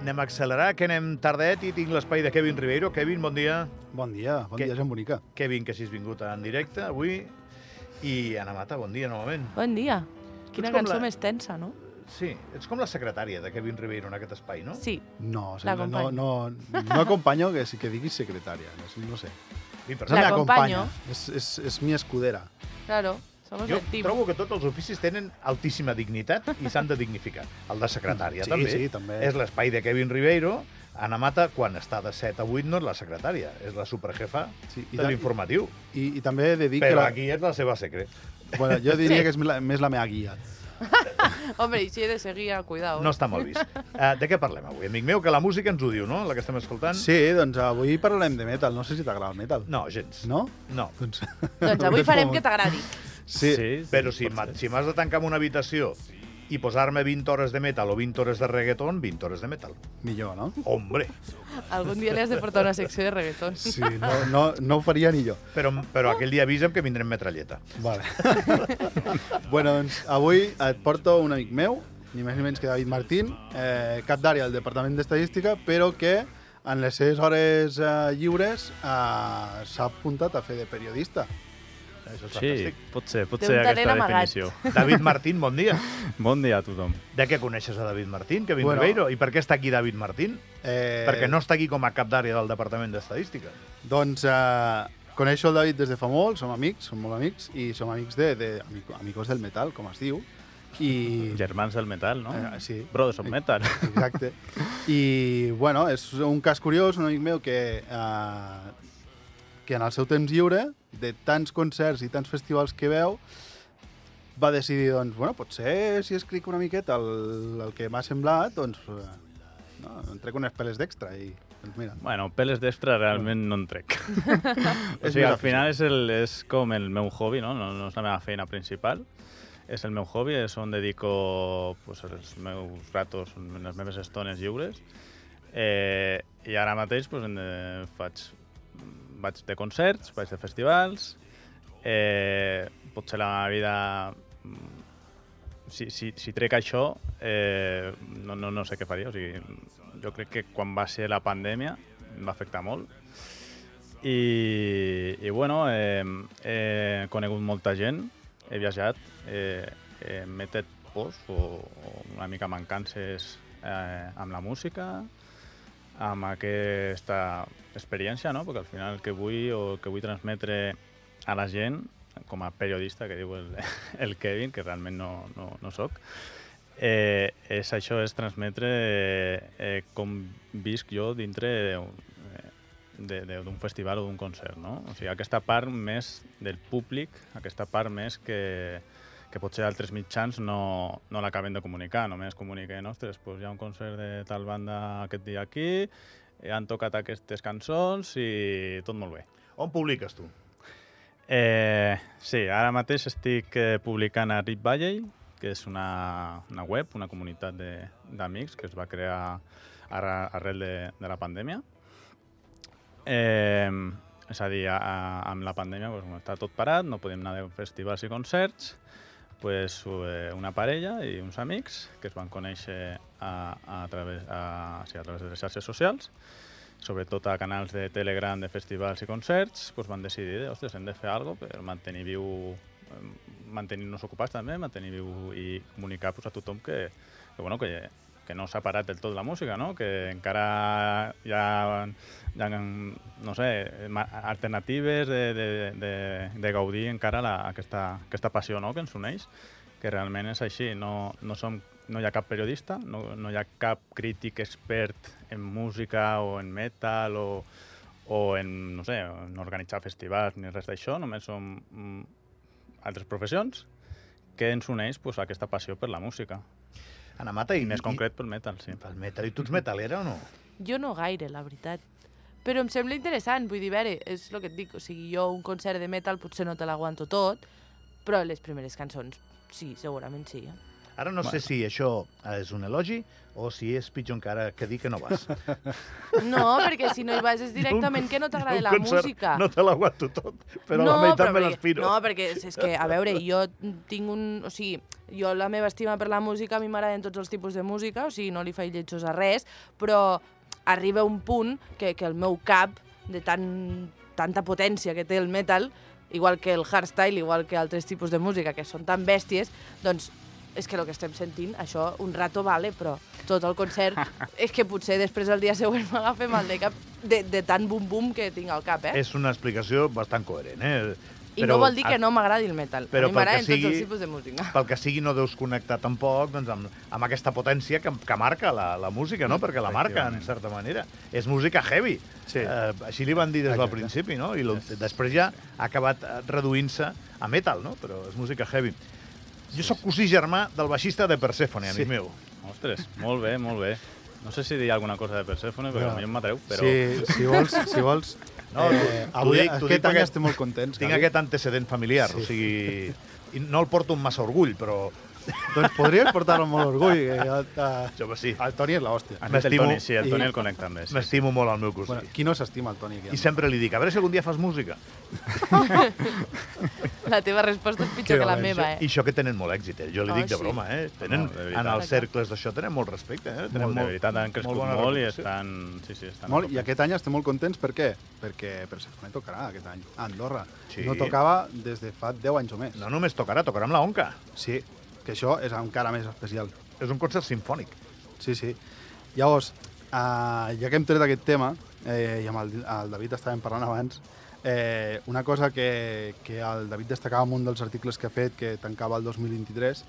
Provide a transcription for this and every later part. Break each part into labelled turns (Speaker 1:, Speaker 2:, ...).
Speaker 1: Anem a accelerar, que anem tardet i tinc l'espai de Kevin Ribeiro. Kevin, bon dia.
Speaker 2: Bon dia, bon
Speaker 1: Què-
Speaker 2: dia, gent bonica.
Speaker 1: Kevin, que si has vingut en directe avui. I Anna Mata, bon dia, novament.
Speaker 3: Bon dia. Quina
Speaker 1: Ets com
Speaker 3: cançó
Speaker 1: la-
Speaker 3: més tensa, no?
Speaker 1: Sí, ets com la secretària de Kevin Ribeiro en aquest espai, no?
Speaker 3: Sí.
Speaker 2: No,
Speaker 3: La
Speaker 2: sembla- no, no, no acompanyo que, que diguis secretària, no, no sé.
Speaker 1: Sí, per
Speaker 3: La
Speaker 1: tant,
Speaker 2: me
Speaker 3: acompaño.
Speaker 2: acompaña, És, és, és mi escudera.
Speaker 3: Claro, somos
Speaker 1: jo
Speaker 3: el team.
Speaker 1: trobo que tots els oficis tenen altíssima dignitat i s'han de dignificar. El de secretària
Speaker 2: Sí,
Speaker 1: també.
Speaker 2: sí, també.
Speaker 1: És l'espai de Kevin Ribeiro. Anna Mata, quan està de 7 a 8, no és la secretària, és la superjefa
Speaker 2: Sí, i
Speaker 1: de
Speaker 2: tant.
Speaker 1: l'informatiu.
Speaker 2: I, i també he de dir que...
Speaker 1: Però
Speaker 2: La,
Speaker 1: aquí és la seva secret.
Speaker 2: bueno, jo diria
Speaker 3: Sí.
Speaker 2: que és la, més la meva guia.
Speaker 3: Hombre, i si he de seguir, cuidao. eh?
Speaker 1: No està mal vist. Uh, de què parlem avui, amic meu? Que la música ens ho diu, no? La que estem escoltant?
Speaker 2: Sí, doncs avui parlarem de metal. No sé si t'agrada el metal.
Speaker 1: No, gens.
Speaker 2: No?
Speaker 1: No.
Speaker 2: Doncs,
Speaker 3: Doncs avui farem que t'agradi.
Speaker 2: Sí, sí.
Speaker 1: Però si m'ha- si m'has de tancar en una habitació i posar-me 20 hores de metal o 20 hores de reggaeton, 20 hores de metal.
Speaker 2: millor, no?
Speaker 1: Hombre!
Speaker 3: Algun dia li has de portar una secció de reggaetons.
Speaker 2: Sí, no, no, no ho faria ni jo.
Speaker 1: Però, però aquell dia avisa'm que vindrem metralleta.
Speaker 2: Vale. bueno, doncs avui et porto un amic meu, ni més ni menys que David Martín, eh, cap d'àrea del Departament d'Estadística, però que en les seves hores eh, lliures eh, s'ha apuntat a fer de periodista.
Speaker 1: Això és
Speaker 4: Sí,
Speaker 1: fantàstic.
Speaker 4: pot ser, pot
Speaker 3: Té
Speaker 4: ser
Speaker 3: un talent
Speaker 4: aquesta
Speaker 3: amagat.
Speaker 4: definició.
Speaker 1: David Martín, bon dia.
Speaker 4: Bon dia a tothom.
Speaker 1: De què coneixes a David Martín, Kevin bueno,
Speaker 2: Bueno.
Speaker 1: Ribeiro? I per què està aquí David Martín?
Speaker 2: Eh,
Speaker 1: Eh... Perquè no està aquí com a cap d'àrea del Departament d'Estadística.
Speaker 2: Doncs eh, coneixo el David des de fa molt, som amics, som molt amics, i som amics de, de amic, amigos del metal, com es diu. I,
Speaker 4: Germans del metal, no?
Speaker 2: Eh, sí.
Speaker 4: Brothers of Metal.
Speaker 2: Exacte. I, bueno, és un cas curiós, un amic meu que, eh, que en el seu temps lliure, de tants concerts i tants festivals que veu, va decidir, doncs, bueno, potser si escric una miqueta el, el que m'ha semblat, doncs, eh, no, em trec unes peles d'extra i, doncs, mira,
Speaker 4: Bueno, peles d'extra realment no en trec. o
Speaker 2: És
Speaker 4: sigui,
Speaker 2: més
Speaker 4: al final és, el, és com el meu hobby, no? no? No és la meva feina principal. És el meu hobby, és on dedico pues, els meus ratos, les meves estones lliures. Eh, I ara mateix pues, en, eh, faig, vaig de concerts, vaig de festivals. Eh, potser la meva vida... mm, Si, si, si trec això, eh, no, no, no sé què faria. O sigui, jo crec que quan va ser la pandèmia em va afectar molt. I, i bueno, eh, he conegut molta gent, he viatjat, eh, eh, m'he tret pors o, o una mica mancances eh, amb la música, amb aquesta experiència, no? perquè al final el que vull o el que vull transmetre a la gent, com a periodista que diu el, el Kevin, que realment no, no, no soc, eh, és això, és transmetre eh, eh, com visc jo dintre eh, de- de- d'un festival o d'un concert, no? O sigui, aquesta part més del públic, aquesta part més que, que potser altres mitjans no, no l'acaben de comunicar, només comuniquen, ostres, doncs hi ha un concert de tal banda aquest dia aquí, eh, han tocat aquestes cançons i tot molt bé.
Speaker 1: On publiques tu?
Speaker 4: Eh, sí, ara mateix estic eh, publicant a Rip Valley, que és una, una web, una comunitat de- d'amics que es va crear ara, arrel de, de la pandèmia. Eh, és a dir, a, a, amb la pandèmia doncs, com està tot parat, no podem anar a festivals i concerts, pues, eh, una parella i uns amics que es van conèixer a, a, través, a, sí, a través de les xarxes socials, sobretot a canals de Telegram de festivals i concerts, pues, van decidir, ostres, hem de fer alguna cosa per mantenir viu em, mantenir-nos ocupats també, mantenir viu i comunicar pues, a tothom que, que, bueno, que, que no s'ha parat del tot la música, no? que encara hi ha, hi ha no sé, ma- alternatives de, de, de, de gaudir encara la, aquesta, aquesta passió no? que ens uneix, que realment és així, no, no, som, no hi ha cap periodista, no, no hi ha cap crític expert en música o en metal o, o en, no sé, en organitzar festivals ni res d'això, només som mm, altres professions que ens uneix pues, aquesta passió per la música.
Speaker 1: Anna Mata i...
Speaker 4: I més
Speaker 1: i-
Speaker 4: concret pel metal, sí.
Speaker 1: Pel metal. I tu ets metalera o no?
Speaker 3: Jo no gaire, la veritat. Però em sembla interessant, vull dir, a veure, és el que et dic, o sigui, jo un concert de metal potser no te l'aguanto tot, però les primeres cançons, sí, segurament sí. Eh?
Speaker 1: Ara no sé si això és un elogi o si és pitjor encara que dir que no vas.
Speaker 3: No, perquè si no hi vas és directament que no t'agrada
Speaker 1: Un
Speaker 3: la
Speaker 1: concert
Speaker 3: música.
Speaker 1: No te l'aguanto tot, però la
Speaker 3: però
Speaker 1: meitat me
Speaker 3: perquè-
Speaker 1: l'aspiro.
Speaker 3: No, perquè és, és que, a veure, jo tinc un... O sigui, jo la meva estima per la música, a mi m'agraden tots els tipus de música, o sigui, no li faig lletjos a res, però arriba un punt que, que el meu cap, de tan, tanta potència que té el metal, igual que el hardstyle, igual que altres tipus de música que són tan bèsties, doncs és que el que estem sentint, això un rato vale, però tot el concert és que potser després el dia següent m'agafa mal de cap de, de tant bum-bum que tinc al cap, eh?
Speaker 1: És una explicació bastant coherent, eh?
Speaker 3: I no vol dir que no m'agradi el metal.
Speaker 1: però
Speaker 3: a
Speaker 1: pel
Speaker 3: mi
Speaker 1: que
Speaker 3: m'agraden
Speaker 1: sigui-
Speaker 3: tots els tipus de música.
Speaker 1: Pel que sigui, no deus connectar tampoc doncs, amb, amb aquesta potència que, que marca la, la música, no? Perquè la marca, en
Speaker 4: Efectivament.
Speaker 1: certa manera. És música heavy.
Speaker 2: Sí.
Speaker 1: Eh, així li van dir des del
Speaker 2: Exacte.
Speaker 1: principi, no? I lo, després ja ha acabat eh, reduint-se a metal, no? Però és música heavy. Jo sóc cosí germà del baixista de Persephone, amic
Speaker 2: Sí.
Speaker 1: meu.
Speaker 4: Ostres, molt bé, molt bé. No sé si dir alguna cosa de Persephone, però
Speaker 2: No.
Speaker 4: no. potser em matreu, però...
Speaker 2: Si, si vols, si vols
Speaker 1: No,
Speaker 2: no, eh,
Speaker 1: t'ho
Speaker 2: avui,
Speaker 1: dic- t'ho dic
Speaker 2: aquest any
Speaker 1: perquè
Speaker 2: estem molt contents.
Speaker 1: Tinc
Speaker 2: Gavi.
Speaker 1: aquest antecedent familiar, sí.
Speaker 2: Sí.
Speaker 1: o sigui... i No el porto amb massa orgull, però...
Speaker 2: Doncs podries portar-lo amb molt orgull. Que el, eh,
Speaker 1: Jo, però sí.
Speaker 2: el Toni és l'hòstia.
Speaker 4: Aquest el
Speaker 1: m'estimo-
Speaker 4: Toni, sí, el Toni
Speaker 2: i-
Speaker 4: el connecta amb més. Ah, Sí,
Speaker 1: M'estimo molt al meu cosí.
Speaker 2: Bueno, qui no s'estima el Toni?
Speaker 1: I
Speaker 2: Aquí,
Speaker 1: sempre li dic, a veure si algun dia fas música.
Speaker 3: La teva resposta és pitjor que la meva,
Speaker 1: I
Speaker 3: eh?
Speaker 1: això que tenen molt èxit, eh? Jo li
Speaker 3: Oh,
Speaker 1: dic de
Speaker 3: sí.
Speaker 1: broma, eh? Tenen,
Speaker 4: No, de veritat.
Speaker 1: en els cercles d'això tenen molt respecte, eh? Tenen
Speaker 4: molt, de veritat, han crescut
Speaker 1: bona
Speaker 4: molt, molt i
Speaker 1: reputació.
Speaker 4: estan... Sí, sí, estan...
Speaker 2: Molt, I aquest any estem molt contents, per què? Perquè Persefone tocarà aquest any, a Andorra.
Speaker 1: Sí.
Speaker 2: No tocava des de fa 10 anys o més.
Speaker 1: No només tocarà, tocarà amb la Onca.
Speaker 2: Sí, que això és encara més especial.
Speaker 1: És un concert sinfònic.
Speaker 2: Sí, sí. Llavors, eh, ja que hem tret aquest tema, eh, i amb el, el David estàvem parlant abans, eh, una cosa que, que el David destacava en un dels articles que ha fet, que tancava el 2023,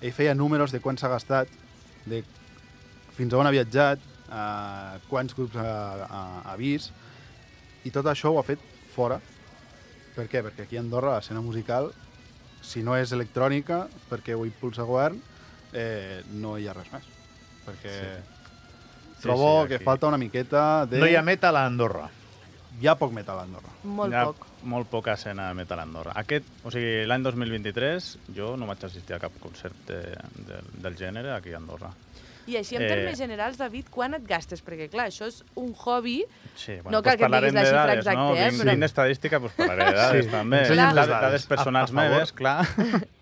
Speaker 2: ell feia números de quan s'ha gastat, de fins on ha viatjat, eh, quants grups ha, ha, ha vist, i tot això ho ha fet fora. Per què? Perquè aquí a Andorra l'escena musical, si no és electrònica, perquè ho impulsa govern, eh, no hi ha res més. Perquè
Speaker 4: Sí,
Speaker 2: trobo
Speaker 4: sí,
Speaker 2: que
Speaker 4: aquí-
Speaker 2: falta una miqueta de...
Speaker 1: No hi ha metal a Andorra.
Speaker 2: hi ha poc metal a Andorra.
Speaker 3: Molt
Speaker 4: Hi ha
Speaker 3: poc.
Speaker 4: Molt poca escena de metal a Andorra. Aquest, o sigui, l'any 2023 jo no vaig assistir a cap concert de, de, del gènere aquí a Andorra.
Speaker 3: I així, en
Speaker 4: Eh.
Speaker 3: termes generals, David, quan et gastes? Perquè, clar, això és un hobby.
Speaker 4: Sí,
Speaker 3: No cal que em
Speaker 4: Doncs
Speaker 3: diguis
Speaker 4: parlarem
Speaker 3: la
Speaker 4: de
Speaker 3: xifra
Speaker 4: dades,
Speaker 3: exacta,
Speaker 4: no?
Speaker 3: eh,
Speaker 4: Vinc-
Speaker 3: però-
Speaker 4: vinc d'estadística, doncs parlaré de dades
Speaker 2: Sí,
Speaker 4: també.
Speaker 2: ensenya'm les
Speaker 4: Dades,
Speaker 2: dades.
Speaker 4: dades personals
Speaker 2: A- a favor.
Speaker 4: meves, clar.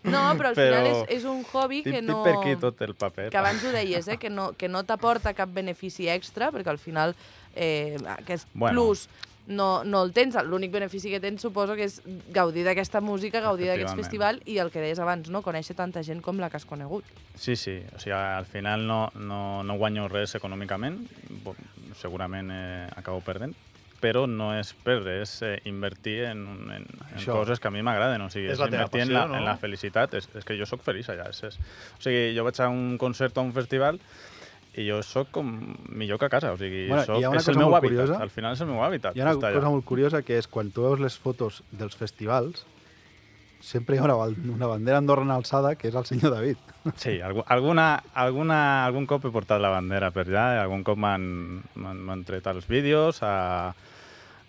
Speaker 3: No, però al
Speaker 4: Però
Speaker 3: final és, és un hobby
Speaker 4: Tip,
Speaker 3: que
Speaker 4: tip
Speaker 3: no...
Speaker 4: per aquí tot el paper.
Speaker 3: que abans ho deies, eh? que no, que no t'aporta cap benefici extra, perquè al final eh, aquest
Speaker 4: Bueno.
Speaker 3: bueno. plus no, no el tens. L'únic benefici que tens suposo que és gaudir d'aquesta música, gaudir d'aquest
Speaker 4: Efectivament.
Speaker 3: festival i el que deies abans, no conèixer tanta gent com la que has conegut.
Speaker 4: Sí, sí. O sigui, al final no, no, no guanyo res econòmicament, bo- segurament eh, acabo perdent, però no és perdre, és eh, invertir en, un- en, en
Speaker 2: Això.
Speaker 4: coses que a mi m'agraden. O sigui,
Speaker 1: És
Speaker 4: és,
Speaker 1: la teva
Speaker 4: invertir en,
Speaker 1: passió,
Speaker 4: la,
Speaker 1: no?
Speaker 4: en la felicitat. És, és que jo sóc feliç allà. És, és... O sigui, jo vaig a un concert o a un festival i jo sóc com millor que a casa. O sigui,
Speaker 2: Bueno,
Speaker 4: soc,
Speaker 2: hi ha una
Speaker 4: és el
Speaker 2: cosa
Speaker 4: meu
Speaker 2: molt
Speaker 4: hàbitat.
Speaker 2: curiosa.
Speaker 4: Al final és el meu hàbitat.
Speaker 2: Hi ha una
Speaker 4: estar
Speaker 2: cosa
Speaker 4: allà.
Speaker 2: molt curiosa que és quan tu veus les fotos dels festivals sempre hi ha una, bal- una bandera andorra en alçada que és el senyor David.
Speaker 4: Sí, algu- alguna, alguna, algun cop he portat la bandera per allà, eh? algun cop m'han- m'han m'han tret els vídeos, a,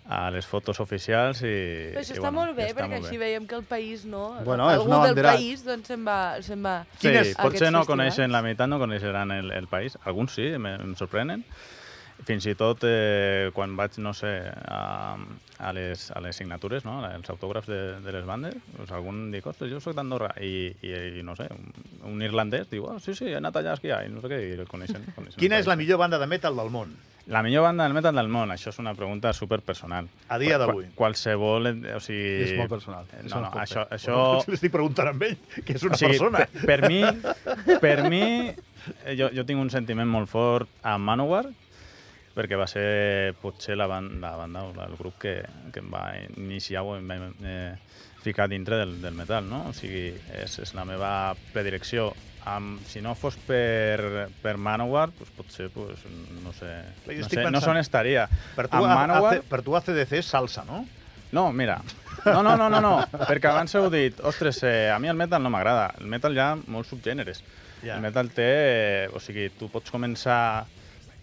Speaker 4: a les fotos oficials i...
Speaker 3: Però això està
Speaker 4: i, Eh, bueno,
Speaker 3: molt bé,
Speaker 4: està
Speaker 3: perquè
Speaker 4: molt
Speaker 3: així
Speaker 4: bé.
Speaker 3: veiem que el país, no?
Speaker 2: Bueno, és
Speaker 3: Algú
Speaker 2: una
Speaker 3: del
Speaker 2: bandera-
Speaker 3: país, doncs, se'n va, se'n va.
Speaker 4: Sí,
Speaker 1: Quin és?
Speaker 4: potser
Speaker 3: Aquests
Speaker 4: no
Speaker 3: festivals?
Speaker 4: coneixen, la meitat no coneixeran el, el país, alguns sí, me- em sorprenen. Fins i tot eh, quan vaig, no sé, a, a, les, a les signatures, no? als autògrafs de, de les bandes, doncs algun dic, ostres, jo sóc d'Andorra, I, i, i no sé, un, un irlandès diu, oh, sí, sí, he anat allà a esquiar, i no sé què, i el coneixen. coneixen
Speaker 1: Quina
Speaker 4: el
Speaker 1: és la
Speaker 4: país.
Speaker 1: millor banda de metal del món?
Speaker 4: La millor banda del metal del món, això és una pregunta superpersonal.
Speaker 1: A dia
Speaker 4: Qual-
Speaker 1: d'avui.
Speaker 4: qual- Qualsevol, eh, o sigui... eh,
Speaker 2: És molt personal, això
Speaker 4: No,
Speaker 2: no
Speaker 4: no,
Speaker 2: es pot
Speaker 4: això...
Speaker 2: fer.
Speaker 4: això
Speaker 1: L'estic preguntant amb ell, que és una
Speaker 4: o sigui,
Speaker 1: persona.
Speaker 4: Per, per mi, per mi eh, jo, jo tinc un sentiment molt fort a Manowar, perquè va ser potser la, ban la banda o la- el grup que, que em va iniciar o em va eh, ficar dintre del, del metal, no? O sigui, és, és la meva predilecció. Am, si no fos per, per Manowar, pues, potser, pues, no sé,
Speaker 1: Clar, jo
Speaker 4: no,
Speaker 1: estic
Speaker 4: sé no
Speaker 1: pensant-
Speaker 4: sé on estaria.
Speaker 1: Per tu,
Speaker 4: Amb
Speaker 1: a,
Speaker 4: Manowar-
Speaker 1: AC, per tu ACDC és salsa, no?
Speaker 4: no, mira. No, no, no, no, no. perquè abans heu dit, ostres, eh, a mi el metal no m'agrada. El metal hi ha molts subgèneres.
Speaker 1: Ja.
Speaker 4: Ja. El metal té... eh, O sigui, tu pots començar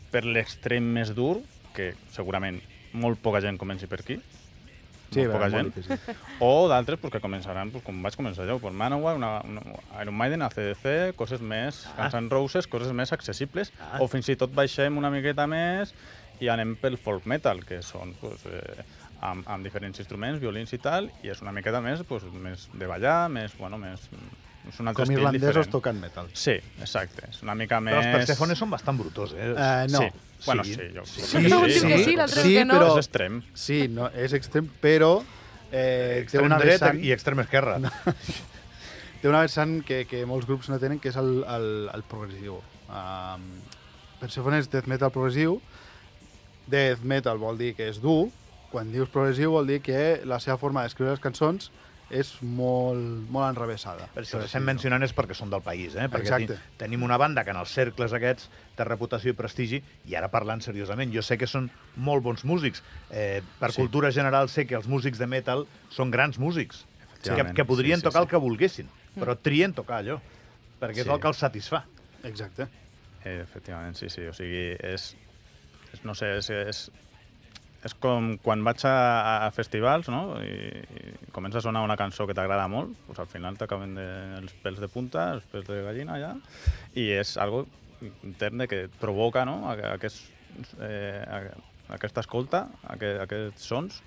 Speaker 4: per l'extrem més dur, que segurament molt poca gent comenci per aquí,
Speaker 2: Sí,
Speaker 4: molt poca
Speaker 2: molt
Speaker 4: gent.
Speaker 2: difícil.
Speaker 4: O d'altres pues, que començaran, pues, com vaig començar jo, per Manowar, una, una, Iron Maiden, ACDC, coses més, ah. Guns N' Roses, coses més accessibles,
Speaker 1: Ah.
Speaker 4: o fins i tot baixem una miqueta més i anem pel folk metal, que són pues, eh, amb, amb diferents instruments, violins i tal, i és una miqueta més, pues, més de ballar, més, bueno, més... És un altre
Speaker 2: Com
Speaker 4: estil
Speaker 2: irlandesos
Speaker 4: diferent.
Speaker 2: tocant metal.
Speaker 4: Sí, exacte, és una mica més...
Speaker 1: Però els Persèfones són bastant brutos, eh?
Speaker 2: Eh, no.
Speaker 4: Sí. Bueno, sí, jo crec
Speaker 3: Un diu que sí, l'altre diu que no.
Speaker 2: però-
Speaker 4: És extrem.
Speaker 2: Sí, no, és extrem, però eh, té,
Speaker 1: extrem
Speaker 2: una
Speaker 1: dret
Speaker 2: vessant,
Speaker 1: i extrem esquerra. No.
Speaker 2: té una vessant que, que molts grups no tenen, que és el, el, el progressiu. Um, Persephone és death metal progressiu. Death metal vol dir que és dur. Quan dius progressiu vol dir que la seva forma d'escriure les cançons és molt, molt enrevesada.
Speaker 1: Però si els
Speaker 2: així
Speaker 1: estem
Speaker 2: dir-ho.
Speaker 1: mencionant és perquè són del país, eh? Perquè
Speaker 2: Exacte.
Speaker 1: ten- tenim una banda que en els cercles aquests té reputació i prestigi, i ara parlant seriosament, jo sé que són molt bons músics. Eh, per
Speaker 4: Sí.
Speaker 1: sí. cultura general sé que els músics de metal són grans músics, que,
Speaker 4: Efectivament,
Speaker 1: que podrien
Speaker 4: sí, sí,
Speaker 1: sí, tocar
Speaker 4: sí. Mm.
Speaker 1: el que volguessin, però trien tocar allò, perquè sí.
Speaker 4: Sí.
Speaker 1: és el que els satisfà.
Speaker 2: Exacte.
Speaker 4: Eh, efectivament, sí, sí. O sigui, és... és no sé, és, és, és com quan vaig a, a festivals no? I, i comença a sonar una cançó que t'agrada molt, doncs al final t'acaben de, els pèls de punta, els pèls de gallina, ja, i és algo intern de que et provoca no? A- a- aquests, eh, a- aquesta escolta, aquest, aquests sons,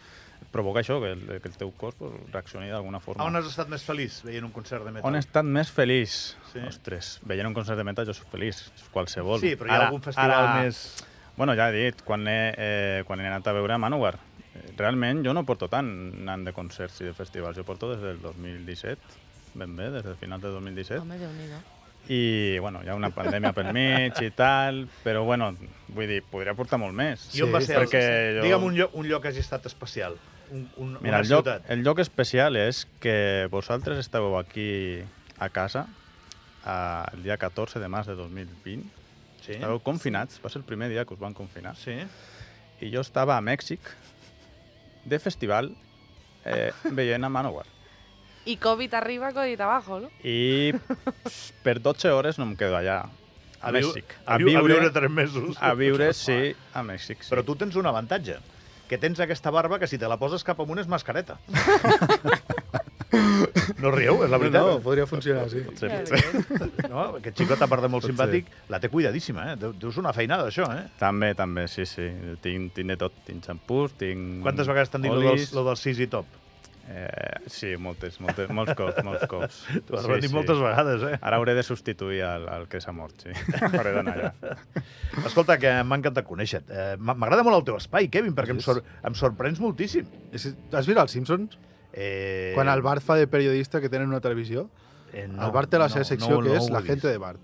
Speaker 4: et provoca això, que el, que el teu cos pues, reaccioni d'alguna forma.
Speaker 1: A on has estat més feliç veient un concert de metal?
Speaker 4: On he estat més feliç?
Speaker 1: Sí.
Speaker 4: Sí. Ostres, veient un concert de metal jo soc feliç, qualsevol.
Speaker 1: Sí, però hi ha
Speaker 4: Ara-
Speaker 1: algun festival
Speaker 4: ara-
Speaker 1: més...
Speaker 4: Bueno, ja he dit, quan he, eh, quan he anat a veure Manowar, eh, realment jo no porto tant anant de concerts i de festivals, jo porto des del 2017, ben bé, des del final de 2017,
Speaker 3: Home, Déu-n'hi-do.
Speaker 4: i bueno, hi ha una pandèmia pel mig i tal, però bueno, vull dir, podria portar molt més.
Speaker 1: I on
Speaker 2: Sí,
Speaker 1: va ser?
Speaker 4: perquè
Speaker 1: el...
Speaker 4: jo-
Speaker 1: Digue'm un lloc, un lloc que hagi estat especial. Un, un,
Speaker 4: Mira,
Speaker 1: una
Speaker 4: el lloc, eh,
Speaker 1: ciutat.
Speaker 4: el lloc especial és que vosaltres estàveu aquí a casa eh, el dia 14 de març de 2020,
Speaker 1: Sí.
Speaker 4: Estàveu confinats, va ser el primer dia que us van confinar.
Speaker 1: sí.
Speaker 4: I jo estava a Mèxic, de festival, eh, veient a Manowar.
Speaker 3: I Covid arriba, Covid abajo, no?
Speaker 4: I pss, per 12 hores no em quedo allà, a,
Speaker 1: viu-
Speaker 4: Mèxic.
Speaker 1: A, viure, a viure tres mesos.
Speaker 4: a viure, sí, a Mèxic. Sí.
Speaker 1: Però tu tens un avantatge, que tens aquesta barba que si te la poses cap amunt és mascareta. no rieu, és la veritat.
Speaker 2: No, no, podria funcionar, sí.
Speaker 4: Potser,
Speaker 3: Ja
Speaker 4: potser.
Speaker 1: No, aquest xicot, a part de molt
Speaker 4: Pot
Speaker 1: simpàtic, la té cuidadíssima, eh? Deu- Deus una feinada, això, eh?
Speaker 4: També, també, sí, sí. Tinc, tinc de tot. Tinc xampús, tinc...
Speaker 1: Quantes vegades t'han dit lo
Speaker 4: Mm. olis.
Speaker 1: del, lo del sis i top?
Speaker 4: Eh, sí, moltes, moltes, molts cops, molts cops.
Speaker 1: T'ho has
Speaker 4: Sí,
Speaker 1: sí, dit
Speaker 4: sí.
Speaker 1: moltes vegades, eh?
Speaker 4: Ara hauré de substituir el, el que s'ha mort, sí. Hauré d'anar allà.
Speaker 1: Escolta, que m'ha encantat conèixer-te. Eh, m'a- M'agrada molt el teu espai, Kevin, perquè em,
Speaker 2: Sí.
Speaker 1: sor em sorprens moltíssim.
Speaker 2: És, has vist els Simpsons?
Speaker 1: Eh,
Speaker 2: Quan el Bart fa de periodista que tenen una televisió,
Speaker 1: eh,
Speaker 2: no, el Bart té la seva secció que és
Speaker 1: ho
Speaker 2: la
Speaker 1: he
Speaker 2: gente
Speaker 1: vist.
Speaker 2: de Bart.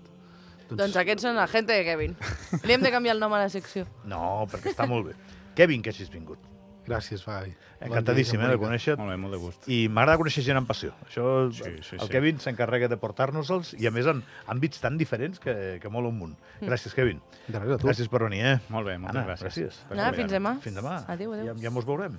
Speaker 3: Doncs aquests són la gente de Kevin. Li hem de canviar el nom a la secció.
Speaker 1: No, perquè està molt bé. Kevin, que hagis vingut.
Speaker 2: Gràcies, Fabi.
Speaker 1: Encantadíssim, eh, de conèixer-te.
Speaker 4: Molt bé, molt de gust.
Speaker 1: i m'agrada conèixer gent amb passió. Això,
Speaker 4: Sí, sí,
Speaker 1: el
Speaker 4: sí.
Speaker 1: Kevin s'encarrega de portar-nos-els i, a més, en àmbits tan diferents que, que mola un munt.
Speaker 3: Mm.
Speaker 1: Gràcies, Kevin.
Speaker 2: Gràcies a tu.
Speaker 1: Gràcies per venir, eh?
Speaker 4: Molt bé, moltes
Speaker 1: Ana,
Speaker 4: gràcies.
Speaker 1: gràcies.
Speaker 4: Per
Speaker 3: Nada, fins
Speaker 4: convidar-me.
Speaker 3: demà.
Speaker 1: Fins demà.
Speaker 3: Adéu, adéu.
Speaker 1: Ja, ja mos veurem.